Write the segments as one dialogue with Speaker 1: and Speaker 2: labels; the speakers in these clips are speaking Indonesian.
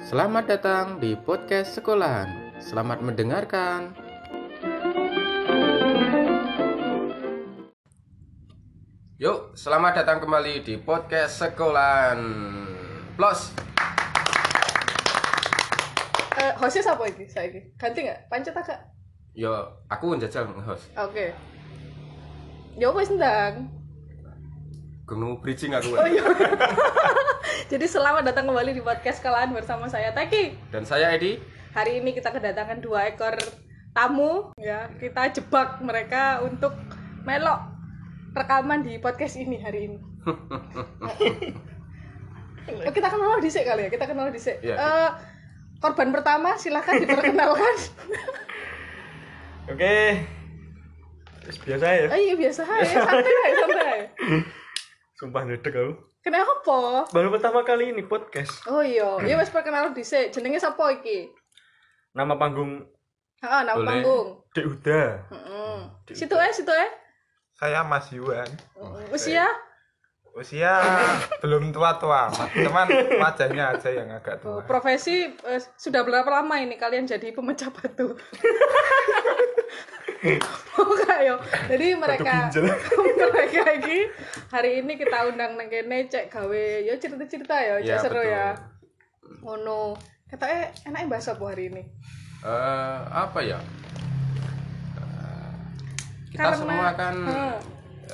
Speaker 1: Selamat datang di podcast sekolahan. Selamat mendengarkan. Yuk, selamat datang kembali di podcast sekolahan. Plus.
Speaker 2: Eh, hostnya siapa ini? Saya ini. Ganti nggak? Pancet agak.
Speaker 1: Yo, aku njajal nge-host.
Speaker 2: Oke. Ya wes ndang.
Speaker 1: Gunung bridging aku.
Speaker 2: Oh iya. Jadi selamat datang kembali di podcast kalian bersama saya Teki.
Speaker 1: Dan saya Edi.
Speaker 2: Hari ini kita kedatangan dua ekor tamu ya. Kita jebak mereka untuk melok rekaman di podcast ini hari ini. Eh, kita kenal di kali ya. Kita kenal di
Speaker 1: Iya.
Speaker 2: korban pertama silahkan diperkenalkan.
Speaker 3: Oke. Terus biasa ya.
Speaker 2: oh, iya biasa aja, santai aja, santai. aja.
Speaker 3: Sumpah ngedek aku.
Speaker 2: Kenapa?
Speaker 3: Baru pertama kali ini podcast.
Speaker 2: Oh iya, ya wis perkenalan dhisik. Jenenge sapa iki?
Speaker 3: Nama panggung
Speaker 2: Heeh, nang
Speaker 1: Boleh. Hmm,
Speaker 2: panggung.
Speaker 3: Dek Uda.
Speaker 2: Heeh. Situ ae, situ ae.
Speaker 4: Saya Mas Yuan.
Speaker 1: Oh,
Speaker 2: Usia?
Speaker 4: Usia belum tua-tua, amat, cuman wajahnya aja yang agak
Speaker 2: Oh,
Speaker 4: tua.
Speaker 2: profesi eh, sudah berapa lama ini kalian jadi pemecah batu? Oh enggak yo. Jadi mereka
Speaker 3: ginjal.
Speaker 2: mereka iki hari ini kita undang nang kene cek gawe yo cerita-cerita yo, cek
Speaker 1: Ya,
Speaker 2: seru
Speaker 1: betul.
Speaker 2: ya. Ngono. Ketoke enake bahas apa hari ini?
Speaker 1: Eh, apa ya? Eh, Kita
Speaker 2: Karena-
Speaker 1: semua kan
Speaker 2: Heeh.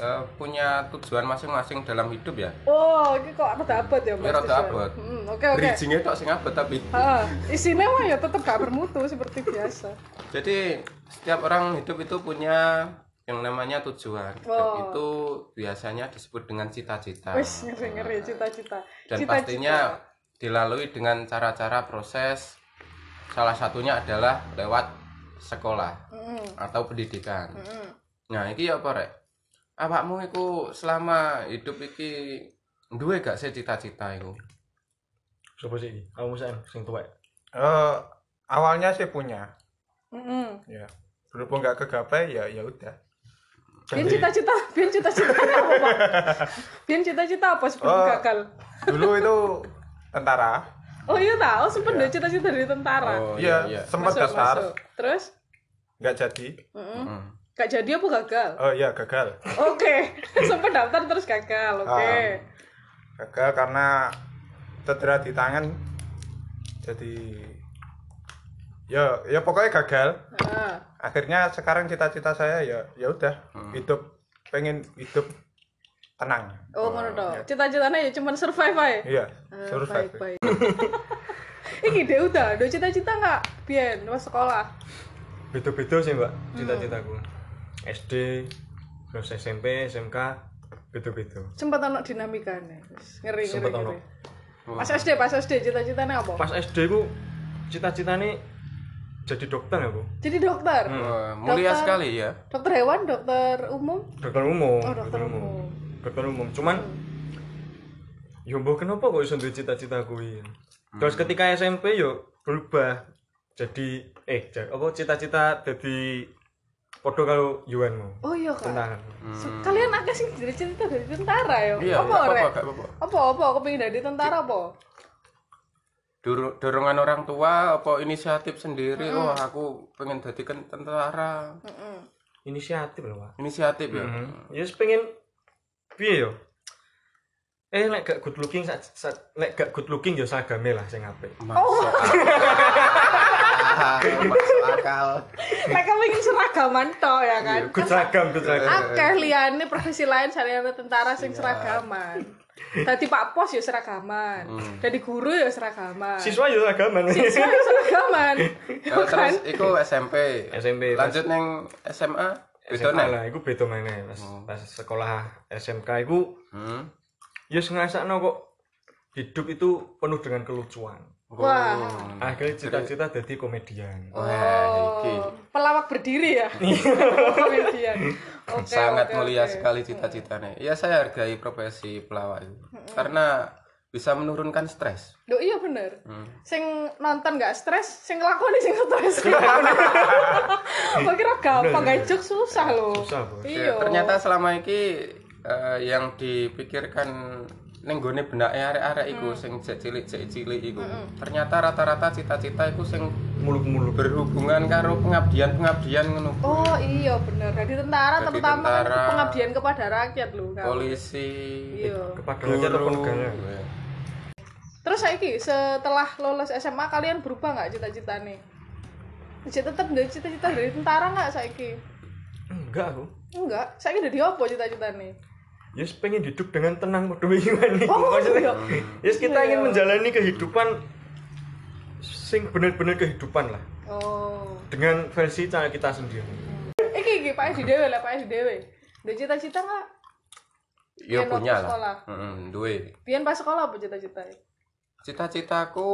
Speaker 1: eh, punya tujuan masing-masing dalam hidup ya.
Speaker 2: Oh, iki kok rada abot ya, Mas.
Speaker 1: Ini rada
Speaker 2: Tisha?
Speaker 1: abot.
Speaker 2: Heeh, oke oke.
Speaker 1: Bridgingnya tok sing abot tapi.
Speaker 2: Heeh, isinya mah ya tetap gak bermutu seperti biasa.
Speaker 1: Jadi setiap orang hidup itu punya yang namanya tujuan Dan
Speaker 2: Wow.
Speaker 1: itu biasanya disebut dengan cita-cita
Speaker 2: Wis ngeri-ngeri
Speaker 1: Ah.
Speaker 2: cita-cita.
Speaker 1: dan
Speaker 2: Cita-cita.
Speaker 1: pastinya dilalui dengan cara-cara proses salah satunya adalah lewat sekolah
Speaker 2: Mm,
Speaker 1: atau pendidikan
Speaker 2: mm.
Speaker 1: nah iki ya apa rek awakmu iku selama hidup iki duwe gak sih cita-cita iku
Speaker 3: Sopo sih? ini? Kamu Sam, sing tua. ya?
Speaker 4: Eh, awalnya sih punya,
Speaker 2: Mm-mm.
Speaker 4: ya. Berhubung nggak kegapai ya ya udah.
Speaker 2: Bian
Speaker 4: Jadi,
Speaker 2: cita-cita, bian cita-citanya apa, Pak? Bian cita-cita apa sebelum
Speaker 4: Oh.
Speaker 2: gagal?
Speaker 4: dulu itu tentara.
Speaker 2: Oh iya tahu, sebenarnya cita-cita dari tentara.
Speaker 1: oh
Speaker 4: Iya, sempat
Speaker 2: Masuk, masuk.
Speaker 4: daftar,
Speaker 2: Terus?
Speaker 4: nggak jadi.
Speaker 2: Mm-mm.
Speaker 1: Mm.
Speaker 2: Gak jadi apa gagal?
Speaker 4: Oh iya gagal.
Speaker 2: Oke, sempat daftar terus gagal. Oke.
Speaker 4: Ah. Gagal karena cedera di tangan. Jadi ya ya pokoknya gagal.
Speaker 2: Ah.
Speaker 4: akhirnya sekarang cita-cita saya ya ya udah hidup pengen hidup tenang
Speaker 2: Oh, ngono toh. Cita-citanya ya cuma survive aja.
Speaker 4: iya
Speaker 2: Eh,
Speaker 4: suruh
Speaker 2: baik baik iki deh udah udah cita-cita nggak biar pas sekolah
Speaker 3: Beda-beda sih, Mbak,
Speaker 2: Hmm.
Speaker 3: cita-citaku. SD, terus SMP, SMK, beda-beda.
Speaker 2: sempat ono dinamikanya Wis, ngeri ngeri
Speaker 3: Sempat ono.
Speaker 2: ngeri pas SD pas SD cita-citanya apa
Speaker 3: Pas SD ku cita-citane jadi dokter aku.
Speaker 2: jadi dokter
Speaker 1: Eh, mulia
Speaker 2: Dokter.
Speaker 1: sekali ya
Speaker 2: dokter hewan dokter umum
Speaker 3: Dokter umum,
Speaker 2: oh dokter umum Hmm.
Speaker 3: Dokter umum. Cuman yo mbok kenapa kok iso duwe cita-cita kuwi. Terus ketika SMP yo berubah jadi eh ja- apa cita-cita jadi padha karo Yuanmu.
Speaker 2: oh iya kan
Speaker 3: Tentang
Speaker 2: So, kalian agak sih dari cerita dari tentara ya
Speaker 1: iya
Speaker 2: apa
Speaker 1: gak apa-apa,
Speaker 2: rek
Speaker 1: gak apa-apa.
Speaker 2: apa apa aku pengen dari tentara apa
Speaker 1: Dor- dorongan orang tua apa inisiatif sendiri oh aku pengen jadi ken- tentara
Speaker 2: Mm-mm.
Speaker 3: inisiatif lho, Pak.
Speaker 1: inisiatif ya
Speaker 3: Ya wis Mm-hmm. pengen piye yo? Eh nek gak good looking sak- sak- nek gak good looking yo sagame lah sing apik.
Speaker 2: Oh.
Speaker 1: masuk akal masuk akal
Speaker 2: mereka pengen seragaman toh ya kan
Speaker 3: Good seragam, good seragam.
Speaker 2: akeh liyane profesi lain sarjana tentara sing
Speaker 1: Iya.
Speaker 2: seragaman. Dadi Pak Pos ya seragaman,
Speaker 1: Hmm.
Speaker 2: dadi guru ya seragaman. Ah. Siswa
Speaker 3: Siswa yo seragaman.
Speaker 2: ya seragaman. Ya
Speaker 1: Eh,
Speaker 2: kan?
Speaker 1: terus iku SMP
Speaker 3: SMP, pas-
Speaker 1: lanjut neng SMA beda
Speaker 3: SMA
Speaker 1: neng
Speaker 3: lah, iku beda meneh pas, pas sekolah SMK iku
Speaker 1: hmm.
Speaker 3: ya ngerasa kok hidup itu penuh dengan kelucuan
Speaker 2: Wah.
Speaker 1: Hmm.
Speaker 3: akhirnya Ah, cita-cita jadi komedian
Speaker 1: Oh. Wah, iki Iya.
Speaker 2: Oh, pelawak berdiri ya. Komedian. Oke,
Speaker 1: sangat
Speaker 2: oke,
Speaker 1: mulia
Speaker 2: oke.
Speaker 1: sekali cita-citanya ya saya hargai profesi pelawak itu karena bisa menurunkan stres
Speaker 2: Duh, iya bener.
Speaker 1: Hmm.
Speaker 2: Sing nonton gak stres, sing ngelakoni sing stres. Kok kira gampang gak jok susah loh.
Speaker 3: susah bos
Speaker 1: Ya,
Speaker 2: Iya.
Speaker 1: ternyata selama ini eh, yang dipikirkan ning gone benake arek-arek iku
Speaker 2: Hmm.
Speaker 1: sing jek cilik-jek cilik iku. Ternyata rata-rata cita-cita iku sing
Speaker 3: muluk-muluk
Speaker 1: berhubungan karo pengabdian-pengabdian ngono.
Speaker 2: Oh iya bener. Jadi tentara
Speaker 1: Jadi
Speaker 2: terutama kan
Speaker 1: tentara.
Speaker 2: pengabdian kepada rakyat loh. Kak.
Speaker 1: Polisi, Gitu.
Speaker 2: Iya.
Speaker 3: kepada rakyat apa
Speaker 1: guru. Ya,
Speaker 3: negara
Speaker 2: Terus saiki setelah lulus SMA kalian berubah nggak cita-cita nih? Jadi tetap dari cita-cita dari tentara nggak saiki?
Speaker 3: enggak aku
Speaker 2: Enggak. Saiki dari apa cita-cita nih?
Speaker 3: Yes, pengen hidup dengan tenang padha ini.
Speaker 2: Oh, iya.
Speaker 3: yes, kita
Speaker 2: Iya.
Speaker 3: ingin menjalani kehidupan sing bener-bener kehidupan lah
Speaker 2: Oh.
Speaker 3: dengan versi cara kita sendiri.
Speaker 2: Iki iki Pak Edi Dewe lah Pak Edi Dewe. Dari cita-cita nggak?
Speaker 1: Ya
Speaker 2: Pian
Speaker 1: punya
Speaker 2: waktu Iya, sekolah.
Speaker 1: lah. Heeh, duwe.
Speaker 2: Pian pas sekolah apa cita-cita?
Speaker 1: Cita-citaku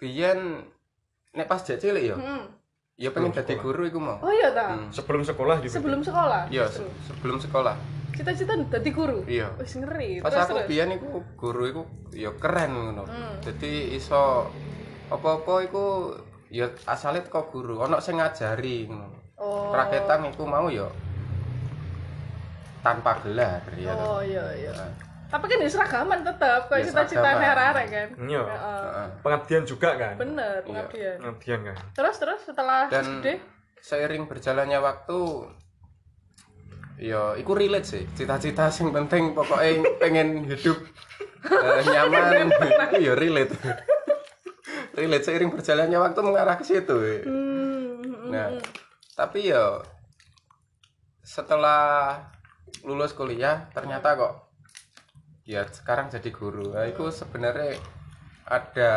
Speaker 1: biyen nek pas jek cilik ya,
Speaker 2: Hmm.
Speaker 1: ya pengen
Speaker 3: Sebelum
Speaker 1: dadi
Speaker 3: sekolah.
Speaker 1: guru iku mau.
Speaker 2: Oh iya ta.
Speaker 1: Hmm.
Speaker 3: Sebelum sekolah gitu.
Speaker 2: Sebelum sekolah.
Speaker 1: Iya, se-
Speaker 2: justru.
Speaker 1: sebelum sekolah.
Speaker 2: Cita-cita jadi guru.
Speaker 1: Iya.
Speaker 2: Wis ngeri.
Speaker 1: Pas
Speaker 2: Terus,
Speaker 1: aku
Speaker 2: terus.
Speaker 1: biyen iku guru iku ya keren ngono.
Speaker 2: Hmm.
Speaker 1: Dadi iso apa-apa iku ya asale teko guru, ana sing ngajari ngono.
Speaker 2: Oh.
Speaker 1: Raketan iku mau ya tanpa gelar ya.
Speaker 2: Oh iya iya.
Speaker 1: Nah,
Speaker 2: Tapi kan ya seragaman tetap kayak
Speaker 1: Ya,
Speaker 2: cita-cita
Speaker 1: seragaman.
Speaker 2: arek kan.
Speaker 3: Iya.
Speaker 2: Heeh.
Speaker 1: heeh.
Speaker 3: Pengabdian juga kan?
Speaker 2: Bener, pengabdian.
Speaker 3: Pengabdian kan.
Speaker 2: Terus terus setelah
Speaker 1: Iya. Dan
Speaker 2: SD,
Speaker 1: seiring berjalannya waktu ya iku relate sih. Cita-cita sing penting pokoknya pengen hidup eh, nyaman iku ya relate. relate seiring berjalannya waktu mengarah ke situ. ya.
Speaker 2: Hmm,
Speaker 1: Nah, tapi ya setelah lulus kuliah ternyata kok ya sekarang jadi guru. Nah, itu sebenarnya ada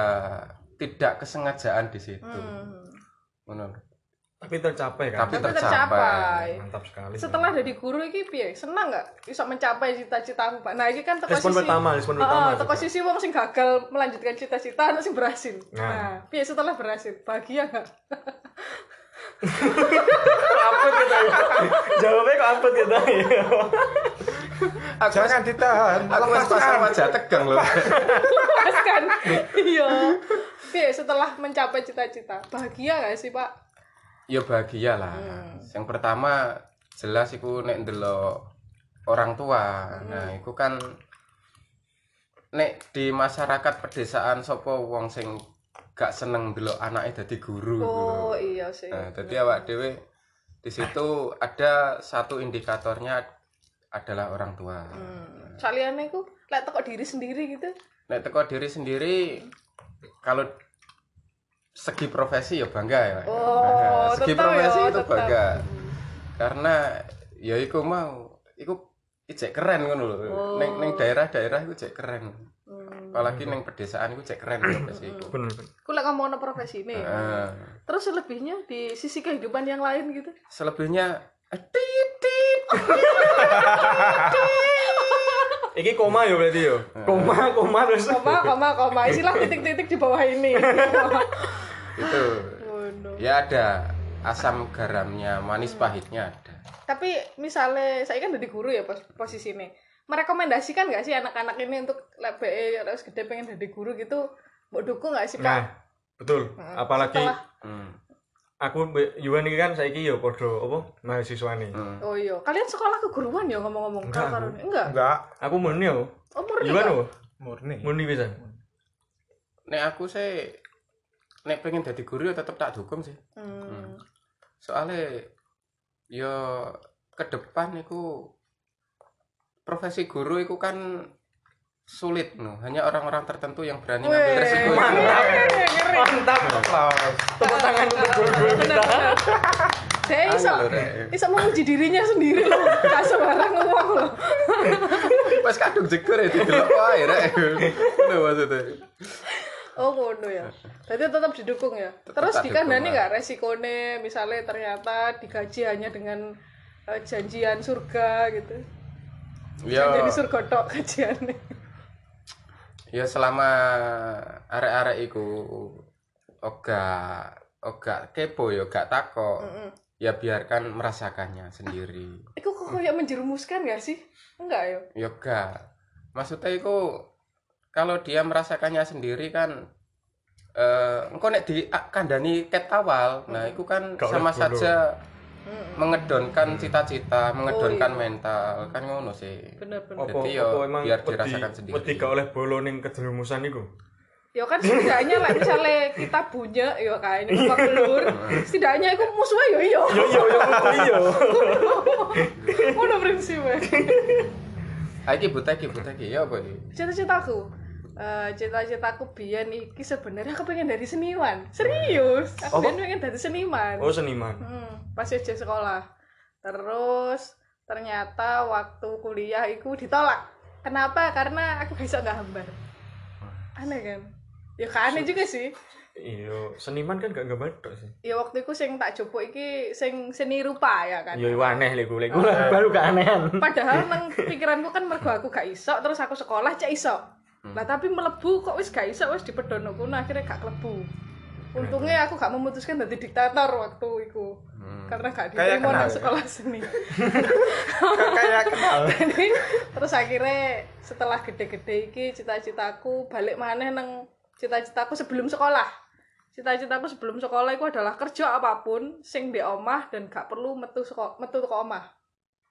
Speaker 1: tidak kesengajaan di situ. Ngono.
Speaker 3: Tapi tercapai kan?
Speaker 1: Tapi tercapai.
Speaker 2: tapi tercapai.
Speaker 3: Mantap sekali.
Speaker 2: Setelah jadi guru iki piye? Senang nggak bisa mencapai cita-cita aku, Pak? Nah, iki kan teko
Speaker 3: respon
Speaker 2: sisi
Speaker 3: pertama, respon pertama.
Speaker 2: Heeh, teko sisi wong sing gagal melanjutkan cita-cita ana sing berhasil.
Speaker 3: Nah.
Speaker 2: Nah, piye setelah berhasil? Bahagia nggak?
Speaker 3: Kok apet gitu ya? Jawabnya kok apet gitu ya?
Speaker 1: Aku kan-
Speaker 4: Jangan ditahan.
Speaker 1: Aku wis pasang wajah tegang lho.
Speaker 2: Mas kan? Iya. Piye setelah mencapai cita-cita? Bahagia nggak sih, Pak?
Speaker 1: Ya bahagia lah.
Speaker 2: Hmm.
Speaker 1: Yang pertama jelas iku nek ndelok orang tua.
Speaker 2: Hmm.
Speaker 1: Nah, iku kan nek di masyarakat pedesaan sapa wong sing gak seneng ndelok anake dadi guru iku lho.
Speaker 2: Oh, iya sih.
Speaker 1: Nah, dadi awak dhewe di situ ada satu indikatornya adalah orang tua.
Speaker 2: Hmm. Saliyane iku lek teko diri sendiri gitu.
Speaker 1: Nek teko diri sendiri kalau segi profesi ya bangga ya. Pak.
Speaker 2: Oh,
Speaker 1: Bangga. segi
Speaker 2: tetep
Speaker 1: profesi
Speaker 2: ya,
Speaker 1: itu
Speaker 2: tetep.
Speaker 1: bangga. Karena ya iku mau iku cek keren ngono lho. Ning ning daerah-daerah iku cek keren. Apalagi ning pedesaan iku cek keren profesi iku.
Speaker 3: Bener, bener.
Speaker 2: Hmm. Ku lek ngomongno profesine.
Speaker 1: Heeh.
Speaker 2: Terus selebihnya di sisi kehidupan yang lain gitu.
Speaker 1: Selebihnya eh, tit tit.
Speaker 3: Iki koma ya berarti ya? Koma, koma terus. Nah,
Speaker 2: Koma, koma, koma. Isilah titik-titik di bawah ini.
Speaker 1: itu.
Speaker 2: Oh,
Speaker 1: Gitu.
Speaker 2: no.
Speaker 1: Ya ada asam garamnya, manis pahitnya ada.
Speaker 2: Tapi misalnya saya kan jadi guru ya pos posisi ini. Merekomendasikan nggak sih anak-anak ini untuk lebe harus gede pengen jadi guru gitu? Mau dukung nggak sih kak?
Speaker 3: Nah, betul. Apalagi
Speaker 2: Setelah-
Speaker 1: Hmm.
Speaker 3: aku be- Yuan ini kan saiki ya podo apa mahasiswa nih.
Speaker 1: hmm.
Speaker 2: Oh iya, kalian sekolah keguruan ya ngomong-ngomong
Speaker 3: Enggak,
Speaker 2: Kalau
Speaker 3: aku.
Speaker 2: karo ini? Enggak.
Speaker 4: Enggak,
Speaker 3: Aku murni yo.
Speaker 2: Oh murni
Speaker 3: Yuan
Speaker 2: Kak?
Speaker 3: yo.
Speaker 4: murni.
Speaker 3: Murni pisan.
Speaker 1: Nek aku sih nek pengen jadi guru ya tetap tak dukung sih.
Speaker 2: Hmm.
Speaker 1: soalnya ya ke depan iku profesi guru iku kan sulit no. hanya orang-orang tertentu yang berani ngambil
Speaker 2: Weh,
Speaker 1: resiko itu.
Speaker 2: ngeri.
Speaker 3: Mantap.
Speaker 4: Aplaus.
Speaker 3: Tepuk tangan untuk guru-guru kita.
Speaker 2: Benar-benar. Saya
Speaker 1: Angel
Speaker 2: iso,
Speaker 1: lho, Rek.
Speaker 2: iso menguji dirinya sendiri loh. Gak sembarang ngomong loh.
Speaker 1: pas kadung jeger ya didelok wae rek Ngono maksudnya
Speaker 2: Oh ngono ya. Berarti tetap didukung ya.
Speaker 1: Tetap
Speaker 2: Terus
Speaker 1: tak
Speaker 2: dikandani
Speaker 1: dukung,
Speaker 2: nggak resikone misalnya ternyata digaji hanya dengan eh, janjian surga gitu.
Speaker 1: ya
Speaker 2: Janjian di surga tok gajiannya.
Speaker 1: ya selama arek-arek iku oga oga kepo ya gak takok ya biarkan merasakannya sendiri
Speaker 2: Iku kok kayak menjerumuskan gak sih? Enggak ya.
Speaker 1: yoga maksudnya itu kalau dia merasakannya sendiri kan eh engko nek di kandani ah, ket awal nah itu kan
Speaker 3: Gak oleh Hmm.
Speaker 1: sama
Speaker 3: dulu.
Speaker 1: saja mengedonkan cita-cita, mengedonkan mental, kan ngono sih.
Speaker 2: bener-bener
Speaker 3: Apa
Speaker 1: Jadi yo,
Speaker 3: apa emang
Speaker 1: biar
Speaker 3: wedi-
Speaker 1: dirasakan sendiri.
Speaker 3: wedi gak oleh bolo ning kejerumusan iku.
Speaker 2: Ya kan setidaknya lah misalnya kita punya ya kan ini Pak Lur. Setidaknya iku musuhnya yo iya.
Speaker 3: Yo yo yo yo.
Speaker 2: Ngono prinsipnya.
Speaker 1: Ah, iki butek, iki butek, iki. ya apa iki?
Speaker 2: Cita-citaku eh, cita-citaku biyen iki sebenarnya aku pengen dari seniman. Serius, aku
Speaker 3: Apa?
Speaker 2: pengen pengen dari seniman.
Speaker 3: Oh seniman.
Speaker 2: Hmm, pas SD sekolah. Terus ternyata waktu kuliah itu ditolak. Kenapa? Karena aku besok nggak hambar. Aneh kan? Ya kan aneh juga sih.
Speaker 3: Iya, seniman kan gak gambar tok sih.
Speaker 2: Ya waktu itu sing tak jopo iki sing seni rupa ya kan.
Speaker 3: Yo yo Iya, aneh lek gue, lek gue lah baru keanehan.
Speaker 2: Padahal nang pikiranku kan mergo aku gak iso terus aku sekolah cek iso.
Speaker 4: Hmm.
Speaker 2: Lah tapi melebu kok wis gak iso wis dipedono kuwi akhirnya gak klebu. Untungnya aku gak memutuskan jadi diktator waktu itu
Speaker 1: Hmm,
Speaker 2: karena gak
Speaker 4: Hmm. Kayak
Speaker 2: diterima nang
Speaker 4: kenal.
Speaker 2: sekolah seni.
Speaker 4: kayak kenal
Speaker 2: Jadi, terus akhirnya setelah gede-gede iki cita-citaku balik maneh nang cita-citaku sebelum sekolah cita-citaku sebelum sekolah itu adalah kerja apapun sing di omah dan gak perlu metu seko, metu ke omah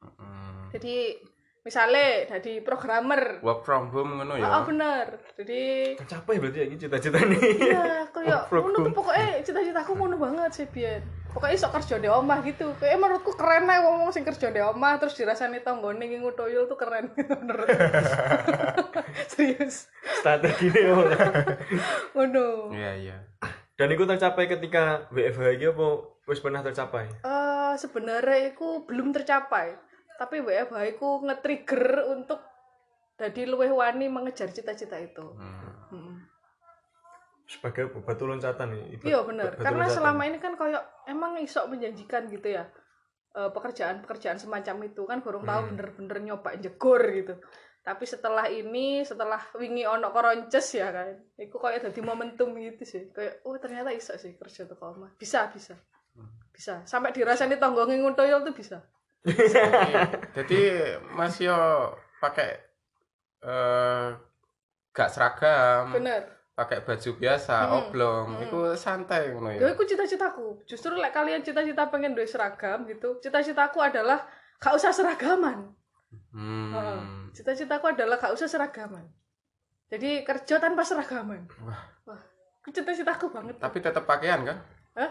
Speaker 1: Hmm.
Speaker 2: jadi misalnya jadi programmer
Speaker 1: Work from home ngono
Speaker 2: oh, oh,
Speaker 1: ya.
Speaker 2: bener jadi
Speaker 3: Capek berarti ya ini cita-cita ini.
Speaker 2: iya kayak
Speaker 3: Work from
Speaker 2: ngono tuh
Speaker 3: home.
Speaker 2: pokoknya cita-citaku ngono banget sih biar pokoknya sok kerja di omah gitu kayak menurutku keren aja wong-wong sing kerja di omah terus dirasani tonggone iki ngutoyul tuh keren menurut serius
Speaker 3: Strategi ini ora.
Speaker 2: ngono
Speaker 1: Iya, iya.
Speaker 3: Dan itu tercapai ketika WFH iki apa wis pernah tercapai?
Speaker 2: Eh, sebenarnya aku belum tercapai tapi WFH ku nge-trigger untuk jadi luwih wani mengejar cita-cita itu
Speaker 1: Hmm.
Speaker 2: Mm.
Speaker 3: Sebagai apa? batu loncatan ya. ibarat-
Speaker 2: Iya benar,
Speaker 3: batu
Speaker 2: karena
Speaker 3: loncatan.
Speaker 2: selama ini kan koyok emang isok menjanjikan gitu ya eh, pekerjaan-pekerjaan semacam itu kan kurang tahu bener-bener nyoba jegur gitu. Tapi setelah ini, setelah wingi ono koronces ya kan, itu kayak jadi momentum gitu sih. Kayak, oh ternyata iso sih kerja tuh koma. Bisa, bisa, bisa. Sampai dirasani tonggongin nguntoyol tuh bisa.
Speaker 1: Jadi Mas yo pakai eh gak seragam,
Speaker 2: Bener.
Speaker 1: pakai baju biasa,
Speaker 2: Hmm,
Speaker 1: oblong. Iku santai ngono ya.
Speaker 2: Ya itu cita-citaku. Justru lek kalian cita-cita pengen duwe seragam gitu, cita-citaku adalah gak usah seragaman. Heeh.
Speaker 1: Hmm.
Speaker 2: Cita-citaku adalah gak usah seragaman. Jadi kerja tanpa seragaman.
Speaker 1: Wah.
Speaker 2: Wah, itu cita-citaku banget.
Speaker 1: Tapi tetap pakaian kan?
Speaker 2: Hah?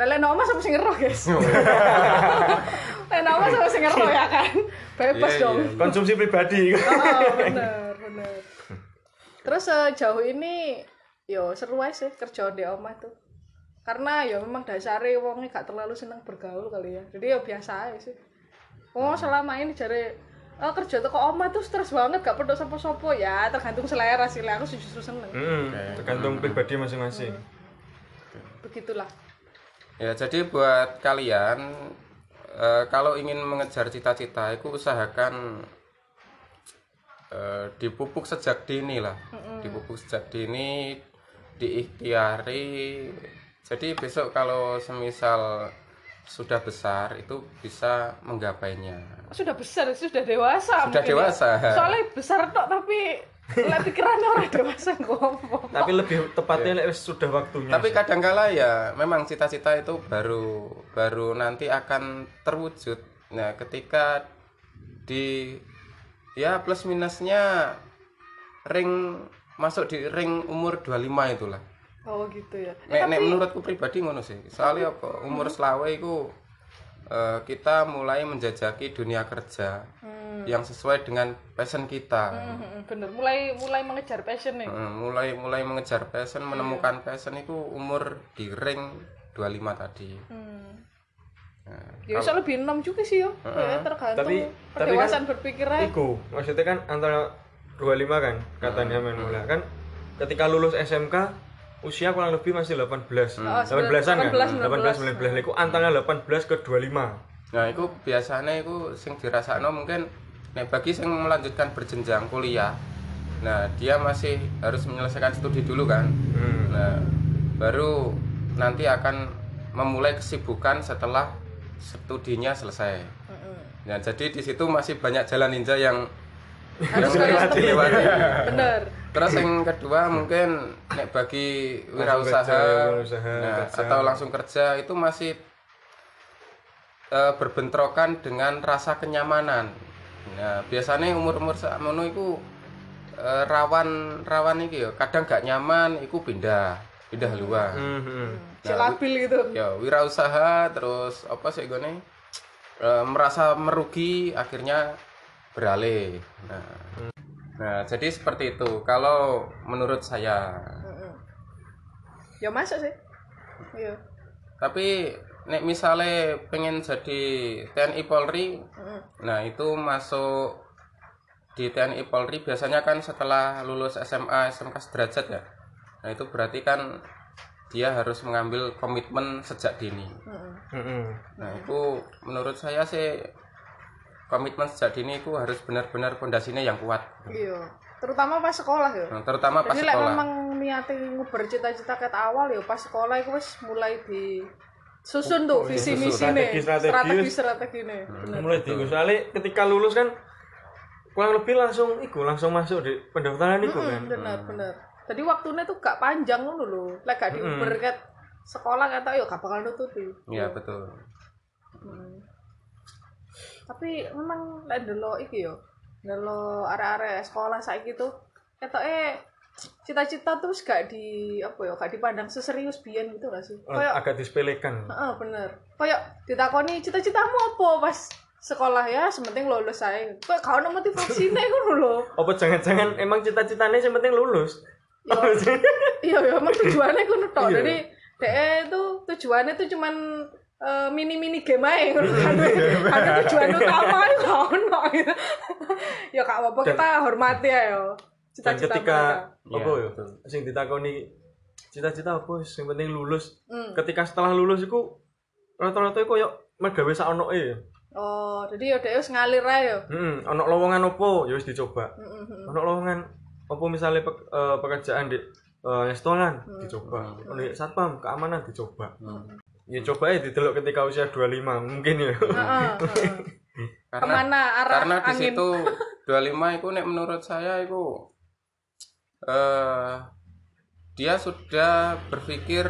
Speaker 2: Lele nama sama sing ngeroh, guys. Lele nama sama sing ngeroh ya kan. Bebas
Speaker 1: Iya,
Speaker 2: dong.
Speaker 1: iya, iya.
Speaker 3: konsumsi pribadi.
Speaker 2: Oh, bener, bener. Terus sejauh ini yo seru aja sih kerja di omah tuh. Karena ya memang dasare wongnya gak terlalu seneng bergaul kali ya. Jadi ya biasa aja sih. Oh,
Speaker 1: Hmm.
Speaker 2: selama ini jare "Ah, kerja tuh kok omah tuh stres banget gak perlu sopo-sopo ya tergantung selera sih lah aku sih justru seneng
Speaker 3: Hmm, tergantung pribadi masing-masing.
Speaker 2: begitulah
Speaker 1: Ya, jadi buat kalian eh, kalau ingin mengejar cita-cita, itu usahakan eh, dipupuk sejak dini lah.
Speaker 2: Hmm.
Speaker 1: Dipupuk sejak dini, diikhtiari. Jadi besok kalau semisal sudah besar itu bisa menggapainya.
Speaker 2: sudah besar sudah dewasa
Speaker 1: Sudah
Speaker 2: mungkin ya.
Speaker 1: dewasa.
Speaker 2: soalnya besar tok tapi lah pikirannya orang dewasa ngopo
Speaker 3: Tapi lebih tepatnya lek wis sudah waktunya.
Speaker 1: Tapi kadangkala ya memang cita-cita itu baru baru nanti akan terwujud. Nah, ketika di ya plus minusnya ring masuk di ring umur 25 itulah.
Speaker 2: oh gitu ya
Speaker 1: Nek, nek menurutku pribadi ngono sih. Soalnya apa? Umur selawe itu eh, kita mulai menjajaki dunia kerja yang sesuai dengan passion kita.
Speaker 2: Mm-mm, Hmm, bener mulai mulai mengejar passion nih
Speaker 1: Eh, mulai mulai mengejar passion, menemukan passion itu umur di ring 25 tadi.
Speaker 2: Hmm.
Speaker 1: Nah,
Speaker 2: ya bisa lebih enam juga sih yo Ya, tergantung
Speaker 3: Tapi- tapi
Speaker 2: pendewasaan berpikirnya
Speaker 3: Iku, maksudnya kan antara 25 kan katanya Menula kan ketika lulus SMK usia kurang lebih masih 18.
Speaker 2: Oh,
Speaker 3: 18-an kan?
Speaker 2: 18,
Speaker 3: 18 19. Iku antara 18 ke 25.
Speaker 1: Nah, itu biasanya itu sing dirasakno mungkin nek bagi sing melanjutkan berjenjang kuliah. Nah, dia masih harus menyelesaikan studi dulu kan.
Speaker 3: Hmm.
Speaker 1: Nah, baru nanti akan memulai kesibukan setelah studinya selesai. Nah, jadi di situ masih banyak jalan ninja yang kan
Speaker 2: harus kalian
Speaker 1: dilewati. dilewati.
Speaker 2: bener
Speaker 1: Terus yang kedua mungkin nek bagi
Speaker 3: Langsung
Speaker 1: wirausaha
Speaker 3: kerja, wirausaha,
Speaker 1: nah,
Speaker 3: kerja.
Speaker 1: atau langsung kerja itu masih eh, berbentrokan dengan rasa kenyamanan. Nah, biasanya umur-umur sakmono iku eh, rawan rawan iki ya, kadang gak nyaman iku pindah, pindah luar.
Speaker 3: Mhm.
Speaker 2: Cek labil gitu.
Speaker 1: Ya, wirausaha terus apa sih gue merasa merugi akhirnya beralih. Nah. Nah, jadi seperti itu kalau menurut saya.
Speaker 2: Heeh. Ya masuk sih. Iya.
Speaker 1: Tapi nek misalnya pengen jadi TNI Polri,
Speaker 2: Heeh.
Speaker 1: Nah, itu masuk di TNI Polri biasanya kan setelah lulus SMA, SMK sederajat ya. Nah, itu berarti kan dia harus mengambil komitmen sejak dini.
Speaker 2: Heeh.
Speaker 3: Mhm.
Speaker 1: Nah, itu menurut saya sih komitmen sejak dini itu harus benar-benar pondasinya yang kuat.
Speaker 2: Iya. Terutama pas sekolah ya.
Speaker 1: Nah, terutama pas
Speaker 2: Jadi lek
Speaker 1: sekolah.
Speaker 2: memang niate nguber cita-cita ket awal ya pas sekolah iku wis mulai di susun tuh visi
Speaker 1: disusun.
Speaker 2: misine,
Speaker 3: Strategi-strategis.
Speaker 2: strategi strategine.
Speaker 3: mulai tinggal soalnya ketika lulus kan kurang lebih langsung iku langsung masuk di pendaftaran iku kan
Speaker 2: Hmm, Bener bener. Jadi waktunya tuh gak panjang ngono lho. Lek gak diuber ket sekolah kata ya gak bakal nututi.
Speaker 1: Iya, betul.
Speaker 2: Hmm. Tapi memang lek ndelok iki ya. Ndelok arek-arek sekolah saiki tuh ketoke cita-cita tuh wis gak di apa ya gak dipandang seserius biyen gitu gak sih? Kayak
Speaker 3: agak disepelekan
Speaker 2: Heeh, bener. Kayak ditakoni cita-citamu apa pas sekolah ya, sementing lulus ae. Kok gak ono motivasine ngono lho.
Speaker 3: apa jangan-jangan emang cita-citanya yang penting lulus
Speaker 2: Ya. Iya, ya emang tujuannya ngono tok.
Speaker 3: Iya.
Speaker 2: Jadi dhek itu tujuannya tuh cuman eh, mini-mini game ae ngono kan. Ada tujuan utama ae gak ono. gitu. Ya gak apa-apa kita hormati ae yo.
Speaker 3: dan
Speaker 2: Cita-cita mereka.
Speaker 3: ketika
Speaker 1: mereka.
Speaker 3: apa
Speaker 1: Iya,
Speaker 3: ya
Speaker 1: betul.
Speaker 3: sing ditakoni cita-cita apa sih? yang penting lulus
Speaker 2: Hmm.
Speaker 3: ketika setelah lulus iku rata-rata iku koyo megawe sak onoke ya
Speaker 2: Oh, jadi ya dhek wis ngalir ae yo.
Speaker 3: heeh Hmm, ono lowongan opo ya wis dicoba
Speaker 2: Heeh, heeh.
Speaker 3: ono lowongan apa misalnya pe- eh, pekerjaan di eh, restoran
Speaker 2: Hmm.
Speaker 3: dicoba
Speaker 1: Hmm.
Speaker 3: ono di satpam keamanan dicoba ya coba ya didelok ketika usia 25 mungkin ya
Speaker 2: Heeh, heeh.
Speaker 1: Karena
Speaker 2: Kemana arah
Speaker 1: karena di
Speaker 2: angin?
Speaker 1: situ 25 itu nek menurut saya itu eh dia sudah berpikir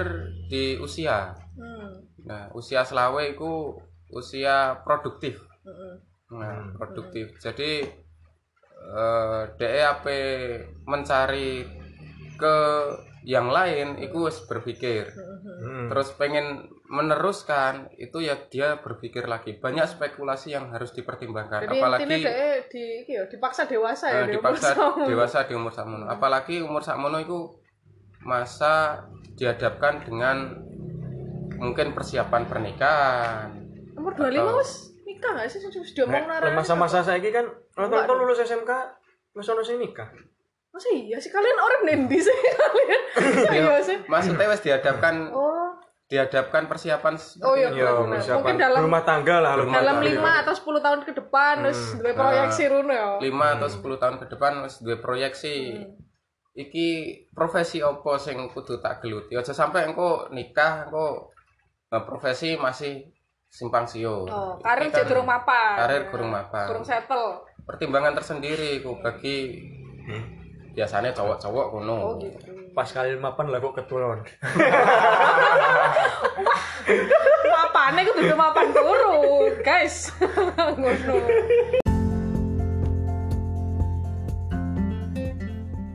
Speaker 1: di usia.
Speaker 2: Hmm,
Speaker 1: Nah, usia selawe itu usia produktif.
Speaker 2: heeh.
Speaker 1: Nah,
Speaker 2: Hmm.
Speaker 1: produktif. Jadi eh DE ape mencari ke yang lain itu wis berpikir.
Speaker 3: Hmm.
Speaker 1: Terus pengen meneruskan itu ya dia berpikir lagi. Banyak spekulasi yang harus dipertimbangkan
Speaker 2: Jadi
Speaker 1: apalagi
Speaker 2: intinya dhek di iki ya, dipaksa dewasa ya
Speaker 1: eh,
Speaker 2: di umur
Speaker 1: dipaksa
Speaker 2: sama. Hmm.
Speaker 1: dewasa di umur sakmono. Apalagi umur sakmono itu masa dihadapkan dengan mungkin persiapan pernikahan.
Speaker 2: Umur 25 wis nikah gak sih sudah diomong
Speaker 3: Nek, masa-masa saiki kan rata-rata lulus SMK wis ono sing nikah
Speaker 2: Masa iya sih kalian orang nendi sih kalian.
Speaker 3: Iya.
Speaker 2: Serius sih.
Speaker 1: Maksudnya wis dihadapkan
Speaker 2: Oh,
Speaker 1: dihadapkan persiapan
Speaker 2: oh iya
Speaker 1: seperti itu.
Speaker 3: Iya,
Speaker 2: benar. benar.
Speaker 3: persiapan
Speaker 2: Mungkin dalam
Speaker 3: rumah tangga ya. Hmm. lah rumah
Speaker 2: dalam 5
Speaker 3: tangga.
Speaker 2: atau 10 tahun ke depan terus duwe proyeksi
Speaker 3: Nah,
Speaker 2: runo ya. Hmm.
Speaker 1: 5 atau 10 tahun ke depan wis duwe proyeksi iki profesi opo sing kudu tak geluti. Aja sampai engko nikah engko eh, profesi masih simpang siur.
Speaker 2: Oh,
Speaker 1: Iki
Speaker 2: karir jadi
Speaker 1: kan
Speaker 2: durung mapan.
Speaker 1: Karir kurung mapan.
Speaker 2: Kurung settle.
Speaker 1: pertimbangan tersendiri ku bagi
Speaker 3: Hmm.
Speaker 1: biasanya cowok-cowok kono.
Speaker 2: Oh gitu.
Speaker 3: pas kali mapan lah kok ketulon
Speaker 2: Mapane kudu duwe mapan turu, guys. Ngono.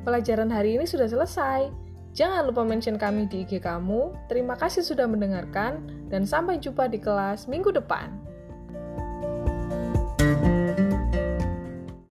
Speaker 5: Pelajaran hari ini sudah selesai. Jangan lupa mention kami di IG kamu. Terima kasih sudah mendengarkan, dan sampai jumpa di kelas minggu depan.